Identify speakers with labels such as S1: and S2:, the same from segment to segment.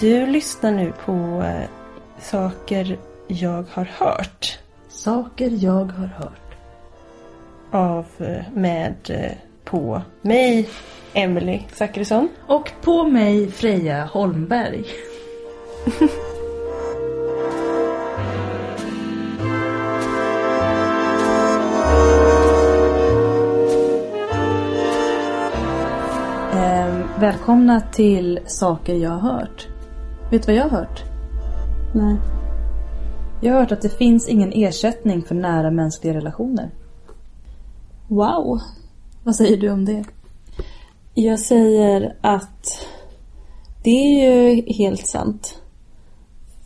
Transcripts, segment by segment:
S1: Du lyssnar nu på eh, Saker jag har hört
S2: Saker jag har hört.
S1: av eh, med eh, på mig, Emily Zachrisson.
S2: Och på mig Freja Holmberg. eh, välkomna till Saker jag har hört. Vet du vad jag har hört?
S1: Nej.
S2: Jag har hört att det finns ingen ersättning för nära mänskliga relationer. Wow! Vad säger du om det?
S3: Jag säger att det är ju helt sant.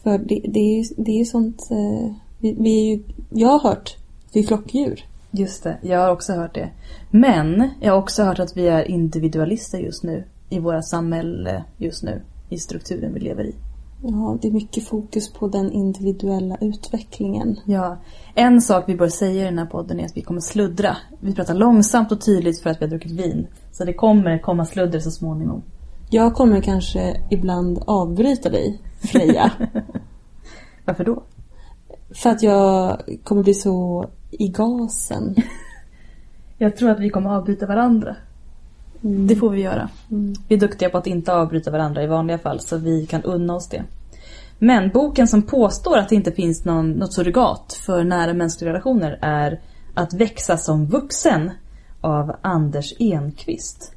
S3: För det, det, är, ju- det är ju sånt... Eh, vi, vi är ju, jag har hört, vi är flockdjur.
S2: Just det, jag har också hört det. Men jag har också hört att vi är individualister just nu. I våra samhälle just nu. I strukturen vi lever i.
S3: Ja, det är mycket fokus på den individuella utvecklingen.
S2: Ja, en sak vi bör säga i den här podden är att vi kommer sluddra. Vi pratar långsamt och tydligt för att vi har druckit vin. Så det kommer komma sludder så småningom.
S3: Jag kommer kanske ibland avbryta dig, Freja.
S2: Varför då?
S3: för att jag kommer bli så i gasen.
S2: Jag tror att vi kommer avbryta varandra. Det får vi göra. Vi är duktiga på att inte avbryta varandra i vanliga fall så vi kan unna oss det. Men boken som påstår att det inte finns någon, något surrogat för nära mänskliga relationer är Att växa som vuxen av Anders Enqvist.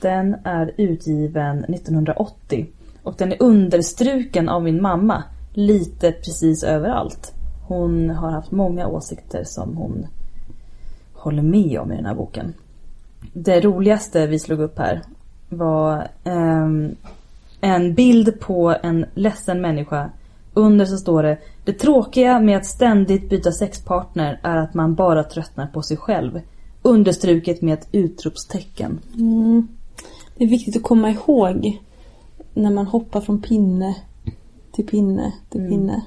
S2: Den är utgiven 1980 och den är understruken av min mamma lite precis överallt. Hon har haft många åsikter som hon håller med om i den här boken. Det roligaste vi slog upp här var ehm, en bild på en ledsen människa. Under så står det Det tråkiga med att ständigt byta sexpartner är att man bara tröttnar på sig själv. Understruket med ett utropstecken.
S3: Mm. Det är viktigt att komma ihåg när man hoppar från pinne till pinne till pinne.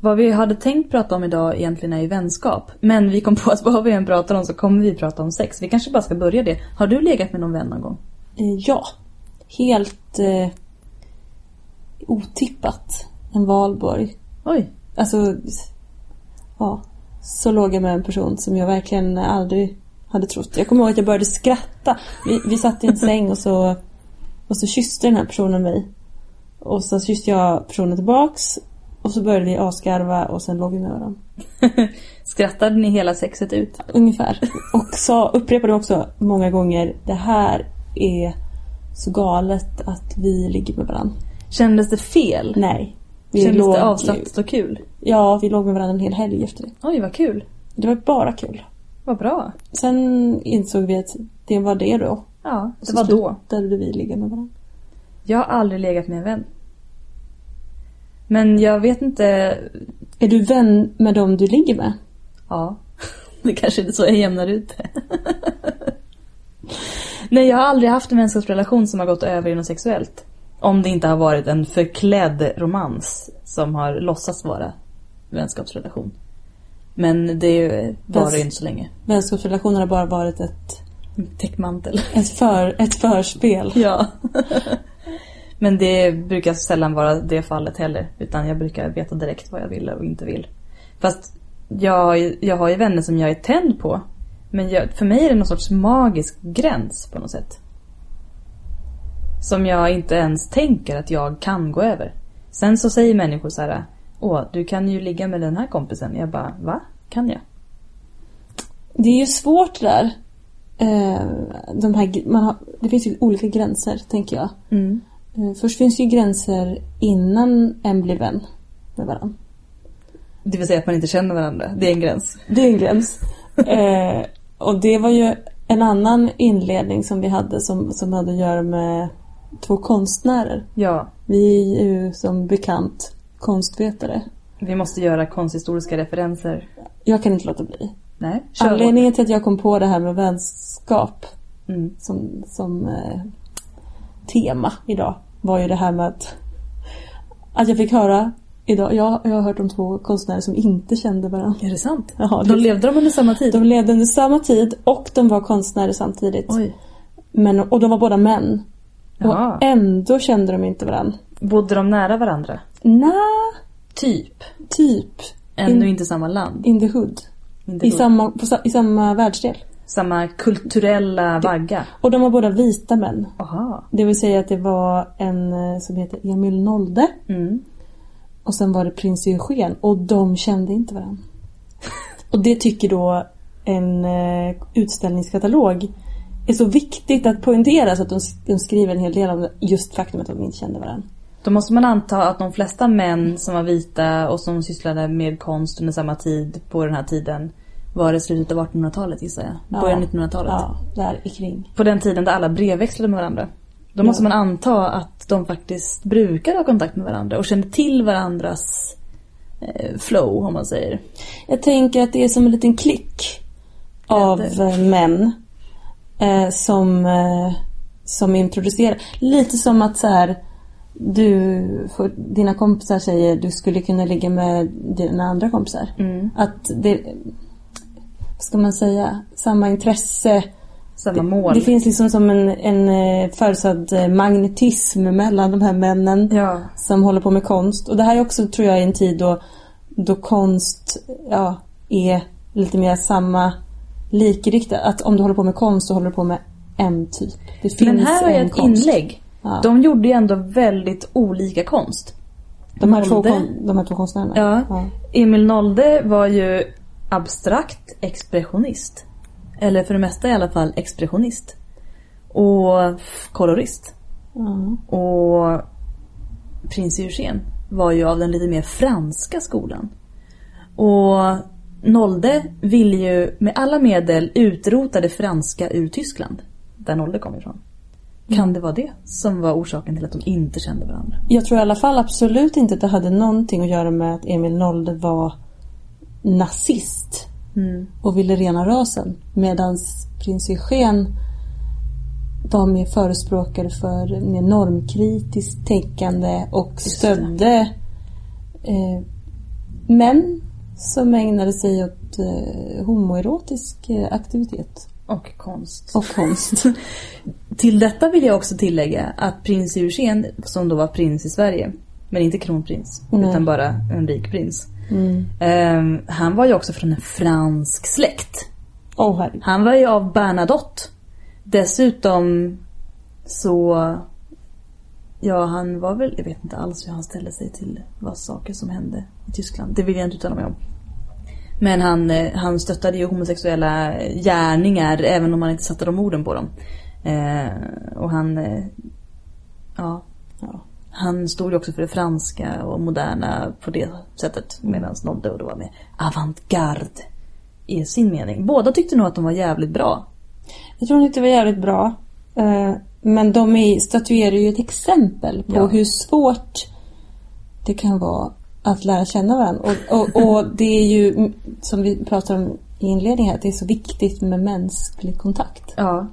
S2: Vad vi hade tänkt prata om idag egentligen är ju vänskap. Men vi kom på att vad vi än pratar om så kommer vi prata om sex. Vi kanske bara ska börja det. Har du legat med någon vän någon gång?
S3: Eh, Ja. Helt eh, otippat. En valborg.
S2: Oj.
S3: Alltså, ja. Så låg jag med en person som jag verkligen aldrig hade trott. Jag kommer ihåg att jag började skratta. Vi, vi satt i en säng och så, och så kysste den här personen mig. Och så kysste jag personen tillbaks. Och så började vi asgarva och sen låg vi med varandra.
S2: Skrattade ni hela sexet ut?
S3: Ungefär. Och sa, upprepade också många gånger det här är så galet att vi ligger med varandra.
S2: Kändes det fel?
S3: Nej. Vi
S2: Kändes
S3: låg,
S2: det avslappnat och kul?
S3: Ja, vi låg med varandra en hel helg efter det.
S2: Oj, vad kul.
S3: Det var bara kul.
S2: Vad bra.
S3: Sen insåg vi att det var det då.
S2: Ja, det
S3: Så
S2: var då.
S3: slutade vi ligga med varandra.
S2: Alltså, Jag har aldrig legat med en vän. Men jag vet inte...
S3: Är du vän med dem du ligger med?
S2: Ja. Det kanske är så jag jämnar ut det. Nej, jag har aldrig haft en vänskapsrelation som har gått över i något sexuellt. Om det inte har varit en förklädd romans som har låtsats vara vänskapsrelation. Men det var det ju inte så länge.
S3: Vänskapsrelationer har bara varit ett,
S2: Täckmantel.
S3: ett, för, ett förspel.
S2: Ja. Men det brukar sällan vara det fallet heller. Utan jag brukar veta direkt vad jag vill och inte vill. Fast jag, har ju- jag har ju vänner som jag är tänd på. Men jag, för mig är det någon sorts magisk gräns på något sätt. Som jag inte ens tänker att jag kan gå över. Sen så säger människor så här. Åh, du kan ju ligga med den här kompisen. Jag bara, va? Kan jag?
S3: Det är ju svårt det där. Eh, De här, gr- man har, det finns ju olika gränser, tänker jag.
S2: Mm.
S3: Eh, Först finns ju gränser innan en blir vän med varandra.
S2: Det vill säga att man inte känner varandra. Det är en gräns.
S3: Det är en gräns. eh, och det var ju en annan inledning som vi hade som, som hade att göra med två konstnärer.
S2: Ja,
S3: Vi är ju som bekant konstvetare.
S2: vi måste göra konsthistoriska referenser.
S3: Jag kan inte låta bli.
S2: Nej, kör Anledning...
S3: Anledningen till att jag kom på det här med vänskap
S2: mm.
S3: som, som eh, tema idag var ju det här med att, att jag fick höra idag. Jag, jag har hört om två konstnärer som inte kände varandra.
S2: Är det sant?
S3: Ja,
S2: Då
S3: det-
S2: levde de under samma tid?
S3: De levde under samma tid och de var konstnärer samtidigt.
S2: Oj.
S3: Men, och de var båda män.
S2: Jaha.
S3: Och ändå kände de inte varandra.
S2: Bodde de nära varandra?
S3: Nja,
S2: Typ.
S3: typ.
S2: Ändå
S3: In-
S2: inte samma land.
S3: In the hood.
S2: Inte
S3: I
S2: då.
S3: samma, på, sa- I samma världsdel.
S2: samma kulturella vagga.
S3: Och de var båda vita män.
S2: Aha.
S3: Det vill säga att det var en eh, som heter Emil Nolde
S2: Mm.
S3: och sen var det prins Eugen och de kände inte varandra. Och det tycker då en eh, utställningskatalog är så viktigt att poängtera så att de, de skriver en hel del om det, just faktumet att de inte kände varandra.
S2: Då måste man anta att de flesta män som var vita och som sysslade med konst under samma tid på den här tiden var i slutet av 1800-talet gissar jag. Början
S3: Ja.
S2: av 1900-talet.
S3: Ja, där i kring.
S2: På den tiden där alla brevväxlade med varandra. Då måste
S3: Ja.
S2: man anta att de faktiskt brukade ha kontakt med varandra och kände till varandras eh, flow om man säger.
S3: Jag tänker att det är som en liten klick av eh, män eh, som, eh, som introducerar. Lite som att så här, du, får, dina kompisar säger du skulle kunna ligga med dina andra kompisar.
S2: Mm.
S3: Att det, vad ska man säga, samma intresse.
S2: Samma mål.
S3: Det finns liksom som en, en eh, förutsatt eh, magnetism mellan de här männen
S2: Ja.
S3: som håller på med konst. Och det här är också, tror jag, en tid då, då konst ja, är lite mer samma likriktat. Att om du håller på med konst så håller du på med en typ. Det finns
S2: Men här har jag
S3: en
S2: ett
S3: konst.
S2: inlägg.
S3: Ja. De,
S2: De gjorde ju ändå väldigt olika konst.
S3: här två,
S2: Nolde.
S3: kon, de här två konstnärerna.
S2: Ja. Emil Nolde var ju abstrakt expressionist. Eller för det mesta i alla fall expressionist. Och kolorist.
S3: Ja.
S2: Och prins Eugen var ju av den lite mer franska skolan. Och Nolde ville ju med alla medel utrota det franska ur Tyskland. Där Nolde kom ifrån. Kan det vara det som var orsaken till att de inte kände varandra?
S3: Jag tror i alla fall absolut inte att det hade någonting att göra med att Emil Nolde var nazist. och ville rena rasen. Medan prins Eugen var mer förespråkare för mer normkritiskt tänkande och stödde eh, män som ägnade sig åt eh, homoerotisk eh, aktivitet
S2: Och konst.
S3: och konst.
S2: Till detta vill jag också tillägga att prins Eugen, som då var prins i Sverige, men inte kronprins,
S3: Nej.
S2: utan bara en rik prins. ehm, han var ju också från en fransk släkt.
S3: Åh oh, herregud.
S2: Han var ju av Bernadotte. Dessutom så... Ja, han var väl... Jag vet inte alls hur han ställde sig till vad saker som hände i Tyskland. Det vill jag inte uttala mig om. Men han, eh, han stöttade ju homosexuella gärningar även om han inte satte de orden på dem. Eh, och han... Eh, ja.
S3: Ja.
S2: Han stod ju också för det franska och moderna på det sättet. Medan Nodde och då var med avantgarde i sin mening. Båda tyckte nog att de var jävligt bra.
S3: Jag tror inte det var jävligt bra. Eh, men de är, statuerar ju ett exempel på
S2: Ja.
S3: hur svårt det kan vara att lära känna varandra. Och, och, och det är ju, mm, som vi pratade om i inledningen här, att det är så viktigt med mänsklig kontakt.
S2: Ja.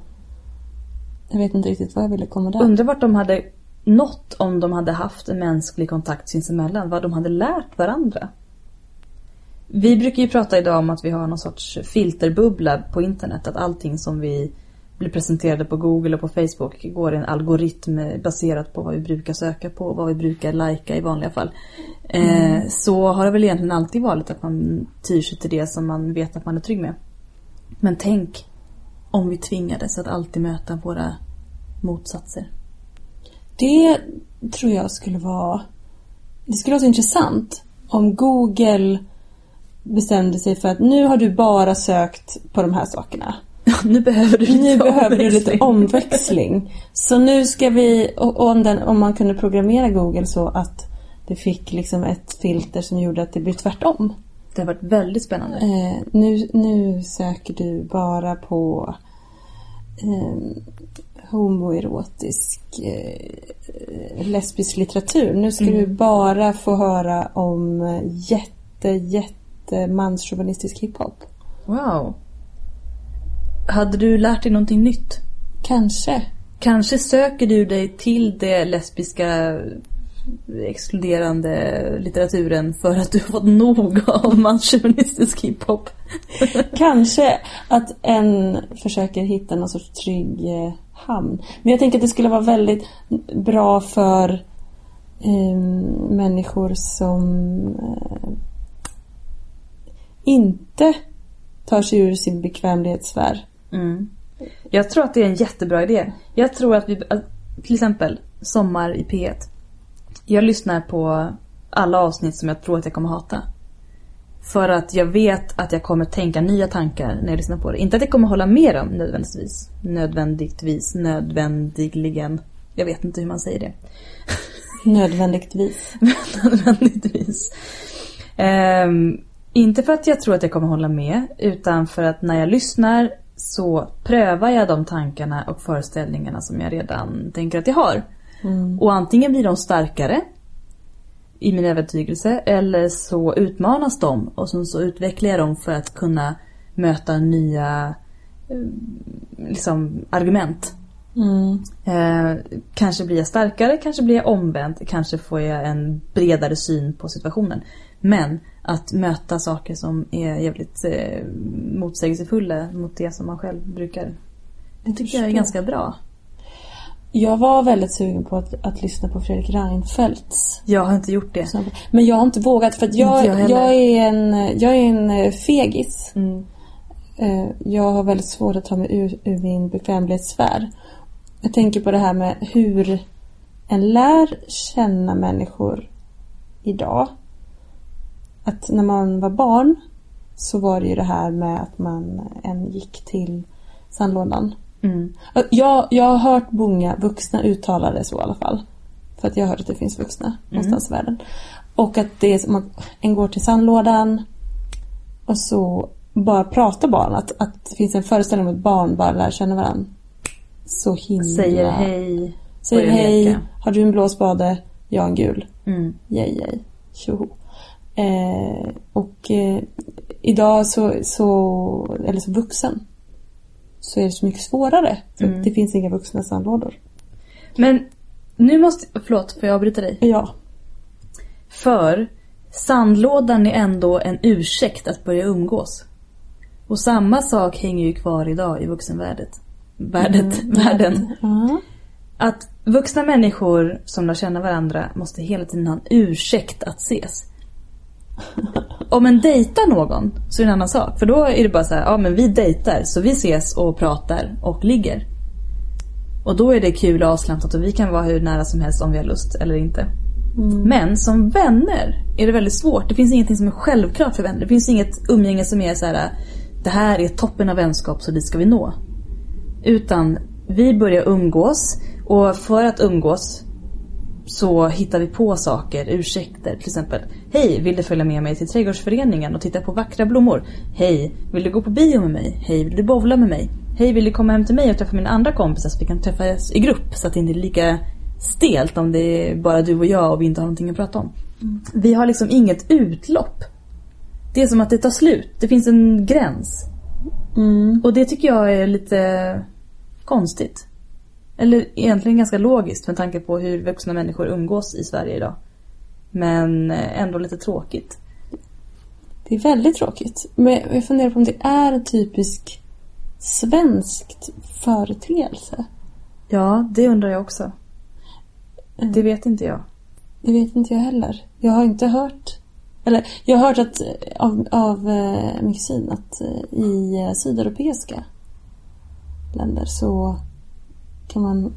S3: Jag vet inte riktigt vad jag ville komma där.
S2: Undrar vart de hade nått om de hade haft en mänsklig kontakt sinsemellan. Vad de hade lärt varandra. Vi brukar ju prata idag om att vi har någon sorts filterbubbla på internet. Att allting som vi blir presenterade på Google och på Facebook går i en algoritm baserat på vad vi brukar söka på och vad vi brukar lajka i vanliga fall. Eh, så har det väl egentligen alltid varit att man tyr sig till det som man vet att man är trygg med. Men tänk om vi tvingades att alltid möta våra motsatser.
S3: Det tror jag skulle vara... Det skulle vara så intressant om Google bestämde sig för att nu har du bara sökt på de här sakerna.
S2: Nu behöver du
S3: Nu
S2: lite
S3: behöver du lite
S2: omväxling.
S3: omväxling. Så nu ska vi, och och om, den, om man kunde programmera Google så att det fick liksom ett filter som gjorde att det blir tvärtom.
S2: Det har varit väldigt spännande.
S3: Eh, nu, nu söker du bara på eh, homoerotisk eh, lesbisk litteratur. Nu ska du bara få höra om eh, jätte, jätte manschauvinistisk hiphop.
S2: Wow. Hade du lärt dig någonting nytt?
S3: Kanske.
S2: Kanske söker du dig till det lesbiska exkluderande litteraturen för att du har fått nog av manschauvinistisk hiphop.
S3: Kanske att en försöker hitta någon sorts trygg eh, hamn. Men jag tänker att det skulle vara väldigt bra för ehm, människor som eh, inte tar sig ur sin bekvämlighetssfär.
S2: Mm. Jag tror att det är en jättebra idé. Jag tror att vi, att, till exempel Sommar i P1. Jag lyssnar på alla avsnitt som jag tror att jag kommer hata. För att jag vet att jag kommer tänka nya tankar när jag lyssnar på det. Inte att jag kommer hålla med dem nödvändigtvis. Nödvändigtvis, nödvändigligen. Jag vet inte hur man säger det.
S3: Nödvändigtvis.
S2: nödvändigtvis. Ehm, inte för att jag tror att jag kommer hålla med, utan för att när jag lyssnar så prövar jag de tankarna och föreställningarna som jag redan tänker att jag har.
S3: Mm.
S2: Och antingen blir de starkare i min övertygelse eller så utmanas de och sen så utvecklar jag dem för att kunna möta nya eh, liksom, argument.
S3: Mm.
S2: Eh, kanske blir jag starkare, kanske blir jag omvänd, kanske får jag en bredare syn på situationen. Men att möta saker som är jävligt eh, motsägelsefulla mot det som man själv brukar. Det tycker jag är
S3: förstår.
S2: ganska bra.
S3: Jag var väldigt sugen på att, att lyssna på Fredrik Reinfeldts
S2: Jag har inte gjort det.
S3: Men jag har inte vågat för att jag,
S2: Inte jag
S3: jag,
S2: heller.
S3: är en, jag är en eh, fegis.
S2: Mm.
S3: Eh, Jag har väldigt svårt att ta mig ur, ur min bekvämlighetssfär. Jag tänker på det här med hur en lär känna människor idag. Att när man var barn så var det ju det här med att man eh, en gick till sandlådan.
S2: Mm.
S3: Jag, jag har hört många vuxna uttala det så i alla fall. För att jag har hört att det finns vuxna
S2: Mm.
S3: någonstans i världen. Och att det är som att en går till sandlådan och så bara pratar barn. Att, att det finns en föreställning om att barn bara lär känna varandra. Så himla...
S2: Säger hej.
S3: Säger
S2: börjar
S3: hej.
S2: leka.
S3: Har du en blå spade? Jag har en gul.
S2: Mm.
S3: Yay, yay. Tjoho. Eh, och eh, idag så, så, eller som vuxen, så är det så mycket svårare. För
S2: Mm.
S3: att det finns inga vuxna sandlådor.
S2: Men nu måste, förlåt får jag avbryta dig?
S3: Ja,
S2: För sandlådan är ändå en ursäkt att börja umgås. Och samma sak hänger ju kvar idag i vuxenvärldet. Värdet, världen. Att vuxna människor som lär känna varandra måste hela tiden ha en ursäkt att ses. Om en dejtar någon så är det en annan sak. För då är det bara så här, ja men vi dejtar så vi ses och pratar och ligger. Och då är det kul och avslappnat och vi kan vara hur nära som helst om vi har lust eller inte. Men som vänner är det väldigt svårt. Det finns ingenting som är självklart för vänner. Det finns inget umgänge som är så här. Det här är toppen av vänskap så dit ska vi nå. Utan vi börjar umgås och för att umgås så hittar vi på saker, ursäkter. Till exempel, hej, vill du följa med mig till trädgårdsföreningen och titta på vackra blommor? Hej, vill du gå på bio med mig? Hej, vill du bowla med mig? Hej, vill du komma hem till mig och träffa mina andra kompisar så vi kan träffas i grupp så att det inte är lika stelt om det är bara du och jag och vi inte har någonting att prata om. Vi har liksom inget utlopp. Det är som att det tar slut. Det finns en gräns. Och det tycker jag är lite konstigt. Eller egentligen ganska logiskt med tanke på hur vuxna människor umgås i Sverige idag. Men eh, ändå lite tråkigt.
S3: det är väldigt tråkigt. Men jag funderar på om det är en typisk svenskt företeelse.
S2: Ja, det undrar jag också. Det vet inte jag.
S3: Det vet inte jag heller. Jag har inte hört... Eller jag har hört att, eh, av, av eh, min kusin att eh, i eh, sydeuropeiska länder så kan man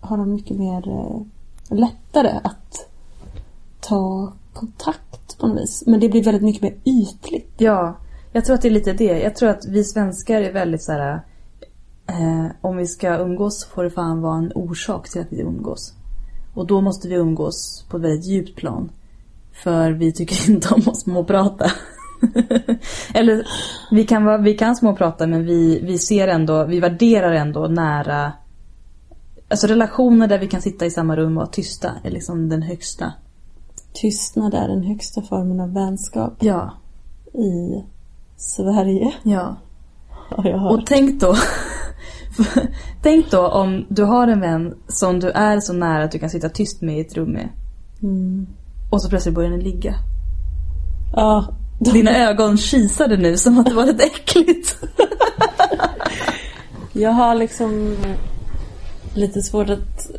S3: ha dem mycket mer eh, lättare att ta kontakt på något vis. Men det blir väldigt mycket mer ytligt.
S2: Ja, jag tror att det är lite det. Jag tror att vi svenskar är väldigt så här. Eh, om vi ska umgås så får det fan vara en orsak till att vi umgås. Och då måste vi umgås på ett väldigt djupt plan. För vi tycker inte om att småprata. Eller vi kan, vara, vi kan småprata men vi, vi ser ändå, vi värderar ändå nära Alltså relationer där vi kan sitta i samma rum och vara tysta är liksom den högsta.
S3: Tystnad är den högsta formen av vänskap
S2: Ja,
S3: i Sverige.
S2: ja.
S3: Har jag hört.
S2: Och tänk då, tänk då om du har en vän som du är så nära att du kan sitta tyst med i ett rum med.
S3: Mm.
S2: Och så plötsligt börjar den ligga.
S3: Ja,
S2: Dina ögon kisade nu som att det var lite äckligt.
S3: Jag har liksom lite svårt att...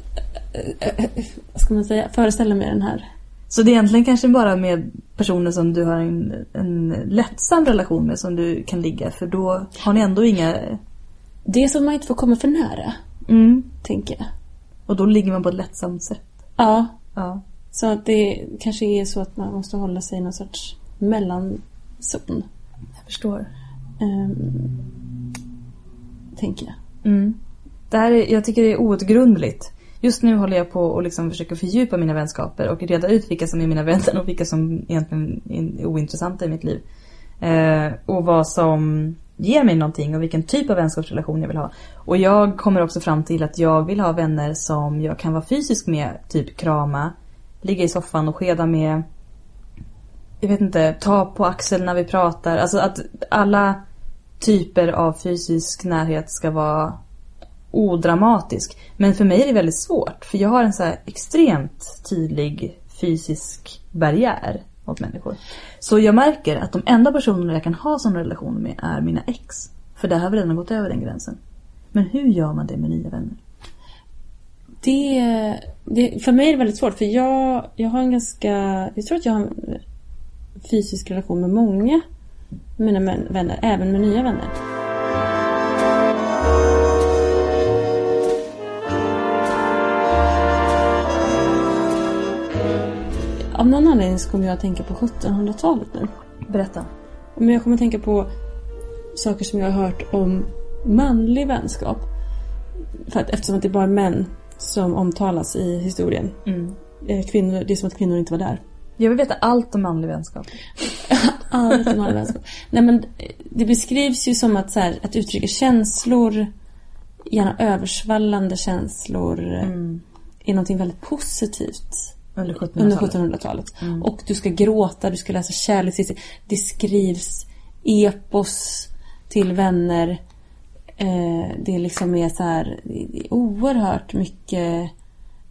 S3: eh, eh, Vad ska man säga? Föreställa mig den här.
S2: Så det är egentligen kanske bara med personer som du har en, en lättsam relation med som du kan ligga för då har ni ändå inga...
S3: Det är som man inte får komma för nära,
S2: Mm.
S3: tänker jag.
S2: Och då ligger man på ett lättsamt sätt.
S3: Ja,
S2: Ja.
S3: så att det kanske är så att man måste hålla sig i någon sorts mellanzon.
S2: Jag förstår.
S3: ehm, tänker jag.
S2: Mm. Det här är, jag tycker det är outgrundligt. Just nu håller jag på och liksom försöker fördjupa mina vänskaper och reda ut vilka som är mina vänner och vilka som egentligen är ointressanta i mitt liv. Eh, och vad som ger mig någonting och vilken typ av vänskapsrelation jag vill ha. Och jag kommer också fram till att jag vill ha vänner som jag kan vara fysisk med, typ krama, ligga i soffan och skeda med. Jag vet inte, ta på axeln när vi pratar. Alltså att alla typer av fysisk närhet ska vara odramatisk. Men för mig är det väldigt svårt. För jag har en så här extremt tydlig fysisk barriär mot människor. Så jag märker att de enda personerna jag kan ha sån relation med är mina ex. För där har vi redan gått över den gränsen. Men hur gör man det med nya vänner?
S3: Det, det, för mig är det väldigt svårt för jag, jag har en ganska... Jag tror att jag har en fysisk relation med många av mina män- vänner, även med nya vänner. Av någon anledning så kommer jag att tänka på 1700-talet nu.
S2: Berätta.
S3: Men jag kommer att tänka på saker som jag har hört om manlig vänskap. För att, eftersom att det är bara män som omtalas i historien.
S2: Mm.
S3: Eh, Kvinnor, det är som att kvinnor inte var där.
S2: Jag vill veta allt om manlig vänskap.
S3: Allt om manlig vänskap. Nej, men eh, det beskrivs ju som att, så här, att uttrycka känslor, gärna översvallande känslor, eh,
S2: Mm.
S3: är någonting väldigt positivt
S2: Under
S3: under
S2: 1700-talet.
S3: 1700-talet.
S2: Mm.
S3: Och du ska gråta, du ska läsa kärlekshistorier. Det skrivs epos till vänner. Eh, det liksom är så här, det det är oerhört mycket...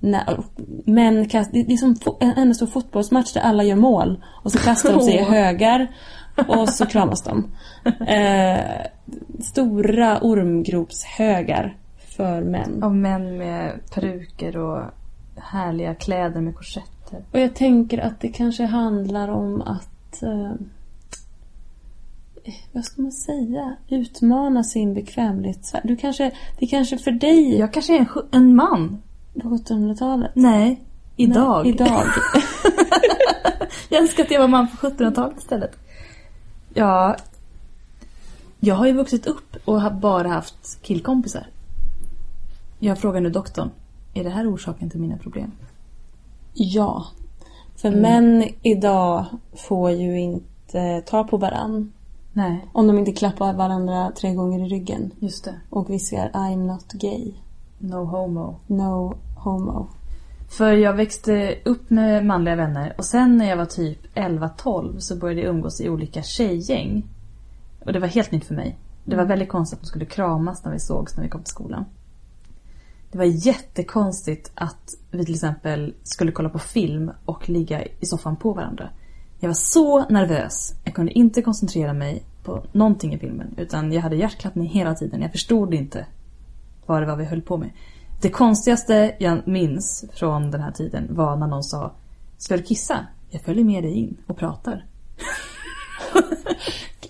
S3: När, män kast, det, det är som fo- en enda stor fotbollsmatch där alla gör mål. Och så kastar de sig i
S2: Åh.
S3: högar. Och så kramas de. Eh, stora ormgropshögar för män.
S2: Av män med peruker och härliga kläder med korsetter.
S3: Och jag tänker att det kanske handlar om att... Eh, vad ska man säga? Utmana sin bekvämlighetssfär. Du kanske, det kanske för dig
S2: Jag kanske är en, sju- en man.
S3: på 1700-talet.
S2: Nej, idag.
S3: Nej, idag.
S2: Jag önskar att jag var man på 1700-talet istället. Ja, jag har ju vuxit upp och har bara haft killkompisar. Jag frågar nu doktorn, är det här orsaken till mina problem?
S3: ja. För män idag får ju inte ta på varann.
S2: Nej,
S3: Om de inte klappar varandra tre gånger i ryggen.
S2: just det.
S3: Och viskar I'm not gay.
S2: No homo.
S3: No homo.
S2: För jag växte upp med manliga vänner och sen när jag var typ 11-12 så började jag umgås i olika tjejgäng. Och det var helt nytt för mig. Det var väldigt konstigt att de skulle kramas när vi sågs när vi kom till skolan. Det var jättekonstigt att vi till exempel skulle kolla på film och ligga i soffan på varandra. Jag var så nervös. Jag kunde inte koncentrera mig på någonting i filmen utan jag hade hjärtklappning hela tiden. Jag förstod inte vad det var vi höll på med. Det konstigaste jag minns från den här tiden var när någon sa Ska du kissa? Jag följer med dig in och pratar.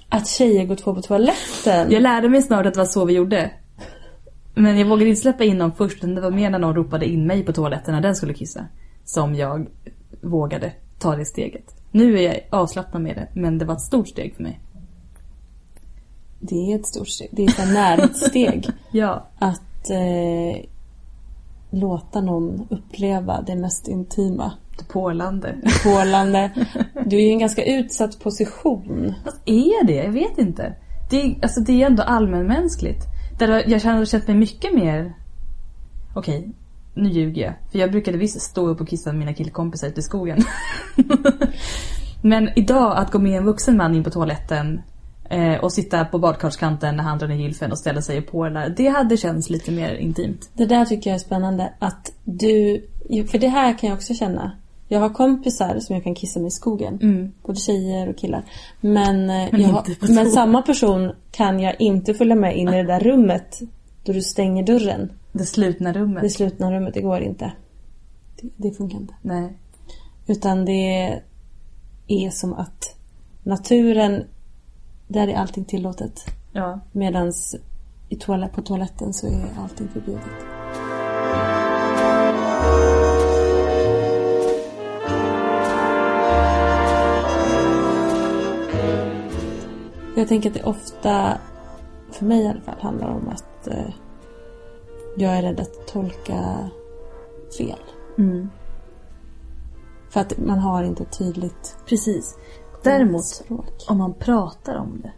S3: Att tjejer går två på toaletten.
S2: Jag lärde mig snart att det var så vi gjorde. Men jag vågade inte släppa in någon först utan det var mer när någon ropade in mig på toaletten när den skulle kissa. Som jag vågade ta det steget. Nu är jag avslappnad med det men det var ett stort steg för mig.
S3: Det är ett stort steg. Det är ett så här närhetssteg.
S2: Ja.
S3: att eh, låta någon uppleva det mest intima.
S2: Det pålande.
S3: Pålande. Du är ju i en ganska utsatt position.
S2: Vad är det? Jag vet inte. Det är, alltså, det är ändå allmänmänskligt. Där har- jag känner känt mig mycket mer... Okej, nu ljuger jag. För jag brukade visst stå upp och kissa med mina killkompisar ute i skogen. Men idag, att gå med en vuxen man in på toaletten eh, och sitta på badkarskanten när han drar ner gylfen och ställa sig och pålar. Det hade känts lite mer intimt.
S3: Det där tycker jag är spännande. Att du, för det här kan jag också känna. Jag har kompisar som jag kan kissa med i skogen.
S2: Mm.
S3: Både tjejer och killar. Men, eh,
S2: Men
S3: jag, har-
S2: inte på
S3: men
S2: toa.
S3: samma person kan jag inte följa med in i det där rummet då du stänger dörren.
S2: Det slutna rummet.
S3: Det slutna rummet, det går inte. Det, det funkar inte.
S2: Nej.
S3: Utan det är som att naturen, där är allting tillåtet.
S2: Ja.
S3: Medan i toalett, på toaletten så är allting förbjudet. Jag tänker att det ofta, för mig i alla fall, handlar om att eh, jag är rädd att tolka fel.
S2: Mm.
S3: För att man har inte ett tydligt
S2: Precis. Däremot,
S3: språk.
S2: om man pratar om det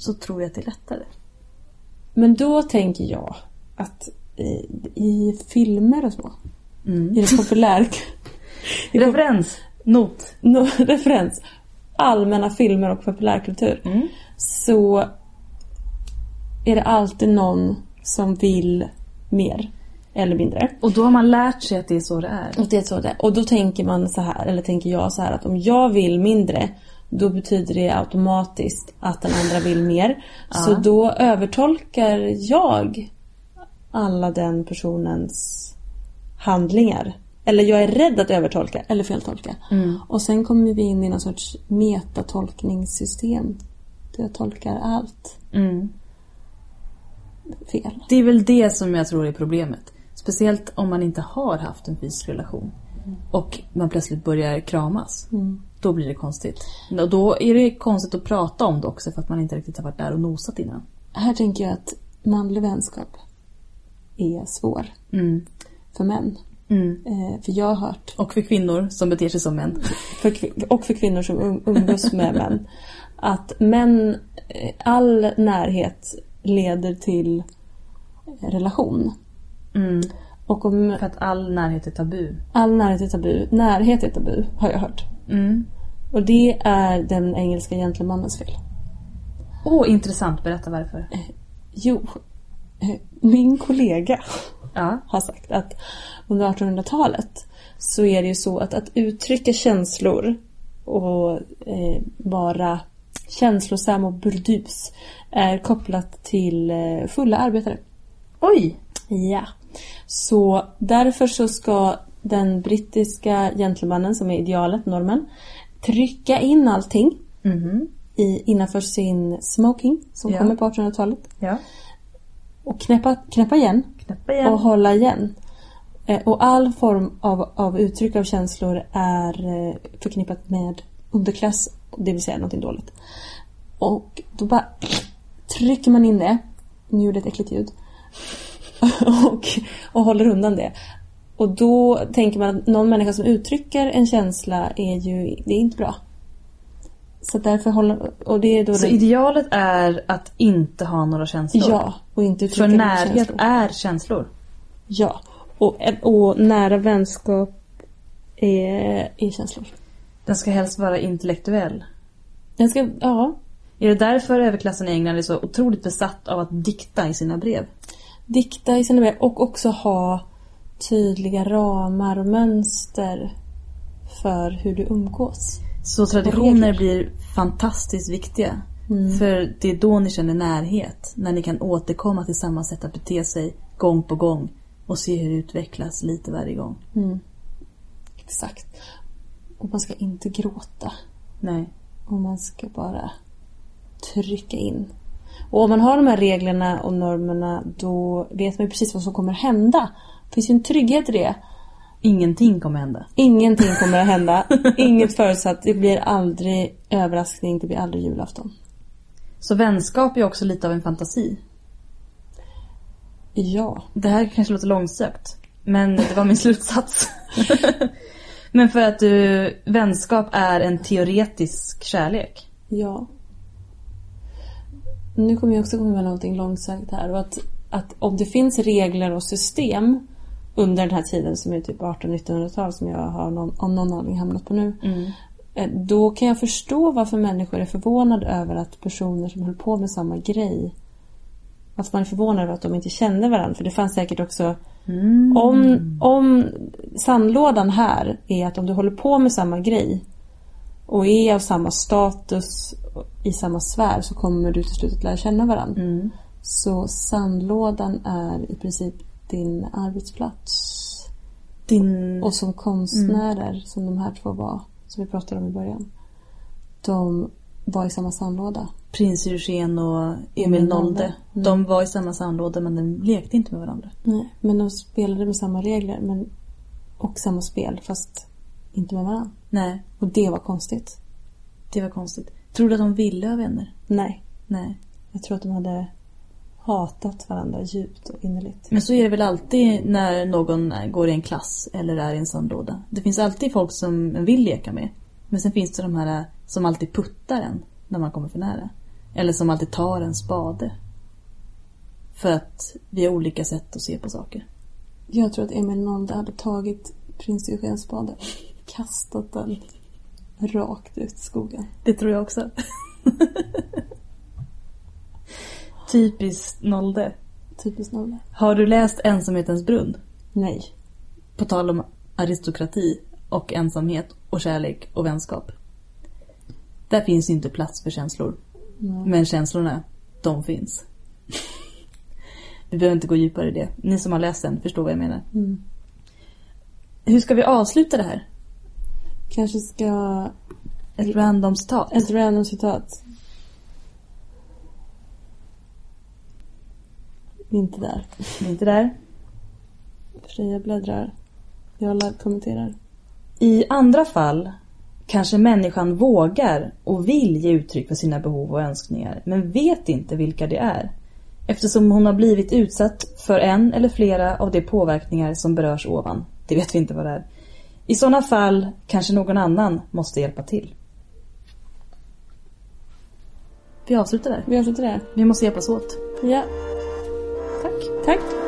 S2: så tror jag att det är lättare.
S3: Men då tänker jag att i, i filmer och så,
S2: Mm.
S3: i det populär... i pop-
S2: Referens. Not.
S3: no, referens. Allmänna filmer och populärkultur.
S2: Mm.
S3: Så är det alltid någon som vill mer eller mindre.
S2: Och då har man lärt sig att det är så det är.
S3: Och, det är så det. och då tänker man så här, eller tänker jag så här att om jag vill mindre då betyder det automatiskt att den andra vill mer. Så
S2: Ja.
S3: då övertolkar jag alla den personens handlingar. Eller jag är rädd att övertolka eller feltolka.
S2: Mm.
S3: Och sen kommer vi in i någon sorts metatolkningssystem. Där jag tolkar allt
S2: Mm.
S3: fel.
S2: Det är väl det som jag tror är problemet. Speciellt om man inte har haft en fysisk relation och man plötsligt börjar kramas. Då blir det konstigt. Och då är det konstigt att prata om det också för att man inte riktigt har varit där och nosat innan.
S3: Här tänker jag att manlig vänskap är svår
S2: Mm.
S3: för män.
S2: Mm.
S3: Eh, för jag har hört
S2: Och för kvinnor som beter sig som män.
S3: för, kvin- och för kvinnor som um- umgås med män. Att män, eh, all närhet leder till relation.
S2: Mm.
S3: Och om
S2: För att all närhet är tabu.
S3: all närhet är tabu, närhet är tabu har jag hört.
S2: Mm.
S3: Och det är den engelska gentlemannens fel.
S2: Åh, intressant. Berätta varför.
S3: Jo, eh, min kollega
S2: Ja.
S3: har sagt att under 1800-talet så är det ju så att att uttrycka känslor och eh, vara känslosam och burdus är kopplat till eh, fulla arbetare.
S2: Oj!
S3: Ja. Så därför så ska den brittiska gentlemannen som är idealet, normen, trycka in allting
S2: Mhm.
S3: i, innanför sin smoking som
S2: Ja.
S3: kommer på 1800-talet
S2: Ja.
S3: och knäppa, knäppa igen
S2: Knäppa igen.
S3: och hålla igen. Eh, Och all form av, av uttryck av känslor är eh, förknippat med underklass, det vill säga någonting dåligt. Och då bara trycker man in det, nu gjorde jag ett äckligt ljud, och, och håller undan det. Och då tänker man att någon människa som uttrycker en känsla är ju, det är inte bra. Så därför håller, och det är då
S2: Så
S3: den,
S2: idealet är att inte ha några känslor?
S3: ja, och inte uttrycka
S2: För
S3: några
S2: närhet
S3: känslor.
S2: är känslor?
S3: Ja, och, och nära vänskap är, är känslor.
S2: Den ska helst vara intellektuell.
S3: Jag ska, ja,
S2: Är det därför överklassen i England är så otroligt besatt av att dikta i sina brev?
S3: dikta i sina brev och också ha tydliga ramar och mönster för hur du umgås.
S2: Så
S3: Regler.
S2: traditioner blir fantastiskt viktiga. För det är då ni känner närhet. När ni kan återkomma till samma sätt att bete sig gång på gång. Och se hur det utvecklas lite varje gång.
S3: Mm. Exakt. Och man ska inte gråta.
S2: Nej.
S3: Och man ska bara trycka in. Och om man har de här reglerna och normerna då vet man ju precis vad som kommer hända. Det finns ju en trygghet i det.
S2: Ingenting kommer hända.
S3: Ingenting kommer att hända. Inget förutsatt. Det blir aldrig överraskning. Det blir aldrig julafton.
S2: Så vänskap är också lite av en fantasi.
S3: Ja.
S2: Det här kanske låter långsökt, men det var min slutsats. men för att du, vänskap är en teoretisk kärlek.
S3: Ja. Nu kommer jag också komma med någonting långsökt här. Och att, att om det finns regler och system under den här tiden som är typ 1800-1900-tal som jag har någon, om någon aning hamnat på nu. eh, Då kan jag förstå varför människor är förvånade över att personer som höll på med samma grej att man är förvånad över att de inte kände varandra. För det fanns säkert också Om, om sandlådan här är att om du håller på med samma grej och är
S2: Mm.
S3: av samma status i samma sfär så kommer du till slut att lära känna varandra. Så sandlådan är i princip din arbetsplats.
S2: Din...
S3: Och som konstnärer, som de här två var, som vi pratade om i början. De var i samma sandlåda.
S2: Prins Eugen och Emil
S3: Emil
S2: Nolde. Mm.
S3: Nolde.
S2: De var i samma sandlåda men de lekte inte med varandra.
S3: Nej, men de spelade med samma regler men, och samma spel fast inte med varandra.
S2: Nej,
S3: Och det var konstigt.
S2: det var konstigt. Tror du att de ville ha vänner?
S3: Nej,
S2: Nej.
S3: jag tror att de hade hatat varandra djupt och innerligt.
S2: Men så är det väl alltid när någon går i en klass eller är i en sandlåda. Det finns alltid folk som man vill leka med. Men sen finns det de här som alltid puttar en när man kommer för nära. Eller som alltid tar en spade. För att vi har olika sätt att se på saker.
S3: Jag tror att Emil Nolde hade tagit prins Eugens spade, kastat den rakt ut i skogen.
S2: Det tror jag också. Typiskt Nolde.
S3: Typiskt Nolde.
S2: Har du läst Ensamhetens brunn?
S3: Nej.
S2: På tal om aristokrati och ensamhet och kärlek och vänskap. Där finns ju inte plats för känslor.
S3: Nej.
S2: Men känslorna, de finns. Vi behöver inte gå djupare i det. Ni som har läst den förstår vad jag menar.
S3: Mm.
S2: Hur ska vi avsluta det här?
S3: Kanske ska...
S2: Ett random citat.
S3: Ett random citat. Inte där.
S2: Inte där.
S3: Freja bläddrar. Jag live kommenterar.
S2: I andra fall kanske människan vågar och vill ge uttryck för sina behov och önskningar men vet inte vilka det är eftersom hon har blivit utsatt för en eller flera av de påverkningar som berörs ovan. Det vet vi inte vad det är. I sådana fall kanske någon annan måste hjälpa till. Vi avslutar där.
S3: Vi avslutar där.
S2: Vi måste hjälpas åt.
S3: Ja.
S2: Tack.
S3: Tack.